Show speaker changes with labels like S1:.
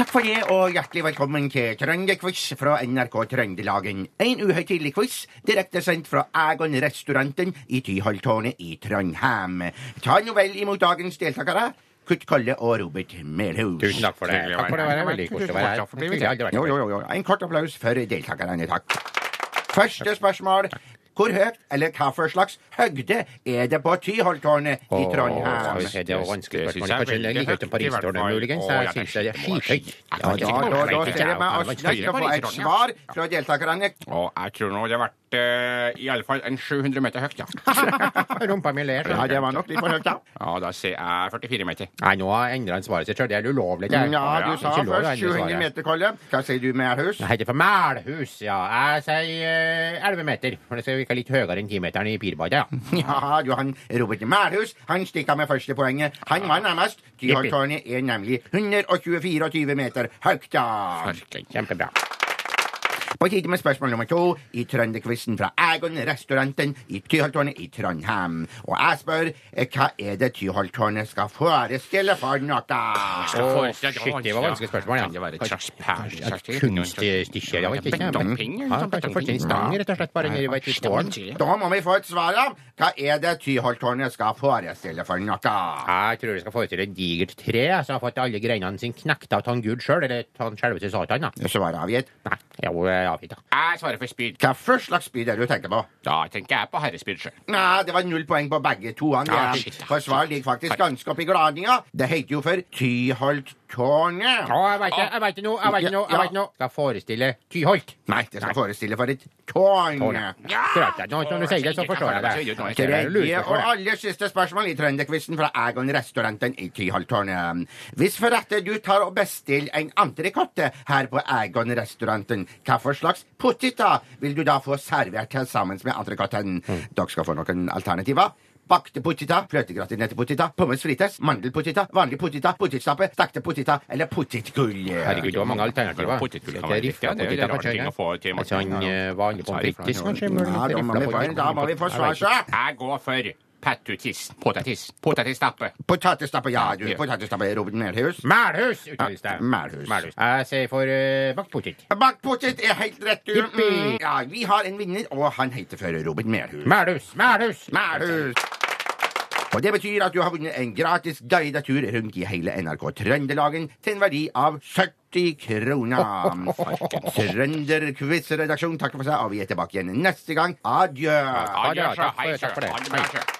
S1: Takk for det, og hjertelig velkommen til Trønderquiz fra NRK Trøndelagen. En uhøytidelig quiz direktesendt fra Egon restauranten i Tyholttårnet i Trondheim. Ta nå vel imot dagens deltakere, Kurt Kolle og Robert Melhus.
S2: Tusen takk for det.
S3: Hyggelig å
S2: Takk for det.
S3: være
S2: det
S3: her.
S2: var veldig koselig å være her.
S3: Takk for det.
S2: Skulle aldri vært
S1: Jo, jo, jo, jo. En kort applaus for deltakerne, takk. Første spørsmål. Hvor høyt, eller hva for slags høgde, er det på Tyholttårnet i
S2: Åh, skal
S1: Trondheim?
S2: vi se, det var vanskelig
S3: Det
S2: spørsmål.
S3: synes jeg er
S2: Kanskje
S3: veldig
S2: like høyt som
S3: høyt, i hvert
S2: Paristårnet,
S3: fall.
S2: muligens.
S3: Åh,
S2: Jeg
S3: jeg
S2: syns det er
S3: skjønner.
S2: skithøyt.
S3: Jeg
S2: Ja,
S3: kan
S1: Da,
S2: det-
S3: ikke
S1: da, da ser jeg meg
S2: det er
S1: Åsne skal få et svar fra deltakerne.
S3: Og jeg tror nå det har vært eh, i alle fall en 700 meter høyt, ja.
S2: Rumpa mi ler.
S1: Ja,
S2: sånn.
S1: det var nok litt for høyt, da.
S3: Ja, da sier jeg 44 meter.
S2: Nei, nå har jeg endret han svaret sitt sjøl. Det er ulovlig. det her.
S1: Mm, Ja, du sa
S2: Ikke lov å endre
S1: først 700
S2: svaret.
S1: meter, Kolle. Hva sier du, Melhus?
S2: Det heter for Melhus, ja. Jeg sier eh, 11 meter. For det skal virke litt høyere enn 10-meteren i Pirbadet, ja.
S1: Ja, du, han Robert Melhus han stikker med første poenget. Han var nærmest. Tyholttårnet er nemlig 124 meter høyt, da.
S2: Kjempebra.
S1: På tide med spørsmål nummer to i Trønderquizen fra Egon restauranten i Tyholttårnet i Trondheim. Og jeg spør eh, hva er det Tyholttårnet skal forestille for noe?
S2: Åh,
S3: Åh,
S2: shit, det var vanskelig spørsmål, ja.
S3: Kan det være et slags
S2: Ja,
S3: pærestykke?
S2: Kunststykker, ja. ikke sant?
S3: Betopping,
S2: Ja, betopping. En stang, rett og slett, bare nede ved et tårn.
S1: Da må vi få et svar, da. Hva er det Tyholttårnet skal forestille for noe?
S2: Jeg tror det skal forestille et digert tre som har fått alle greinene sine knekt av han Gud sjøl, eller han sjølveste Satan, da.
S1: Svaret er avgitt.
S2: Nei, ja, hun er avgitt, da.
S3: Jeg svarer for spyd.
S1: Hva for slags by er det du tenker på?
S3: Da tenker jeg på herrespyd sjøl.
S1: Nei, det var null poeng på begge to. Han,
S3: Ja,
S1: Gjerand.
S3: shit, ja.
S1: for svar ligger faktisk ganske oppi gladninga. Det heter jo for Tyholttårnet.
S2: Å, jeg veit det, jeg veit det nå, jeg veit det nå, jeg veit det nå. Skal forestille Tyholt.
S1: Nei, det skal forestille for et tårn.
S3: Ja!
S2: Akkurat, ja. Nå- Når du sier det, så forstår jeg det.
S3: Det er
S1: Tredje
S2: lurt,
S1: og aller siste spørsmål i Trønderquizen fra Egon restauranten i Tyholttårnet. Hvis for dette du tar og bestiller en entrecôte her på Egon restauranten, hva for slags poteter vil du da få servert til sammen med entrecôten?
S3: Mm.
S1: Dere skal få noen alternativer. Bakte poteter, fløtegratinerte poteter, pommes frites, mandelpoteter, vanlig poteter, potetstappe, stekte poteter eller potetgull.
S2: Herregud, det var mange alternativer.
S3: Potetgull
S2: Det
S3: kan
S2: er
S3: være
S2: rifla
S3: riktig, ja, det er jo
S2: poteter,
S3: en rar
S2: kanskje,
S3: ting
S2: ja.
S3: å få til,
S2: Altså, han
S3: Morten.
S2: eh, vanlig pommes frites, kanskje? men
S1: Ja, da
S2: litt
S1: må vi
S2: rifla
S1: få,
S2: poteter.
S1: da må vi få svar,
S2: Jeg vet ikke.
S1: så.
S3: Jeg går for pattutis. Potetis. Potetstappe.
S1: Potetstappe, ja du.
S3: Ja.
S1: Potetstappe, Robert Melhus.
S2: Melhus, uttales det.
S1: Ja, Melhus.
S2: Jeg sier for uh, bakt potet.
S1: Bakt potet er helt rett, du.
S2: Jippi.
S1: Mm. Ja, vi har en vinner, og han heter for Robert Melhus.
S2: Melhus, Melhus!
S1: Melhus! Og det betyr at du har vunnet en gratis guidet tur rundt i hele NRK Trøndelagen til en verdi av 70 kroner. Trønderquiz-redaksjonen takker for seg, og vi er tilbake igjen neste gang. Adjø.
S2: Ja,
S3: Adjø,
S2: ja,
S3: sjø.
S2: takk for
S3: Hei,
S2: det,
S3: sjø.
S2: takk for det.
S3: Ha det bra, sjø.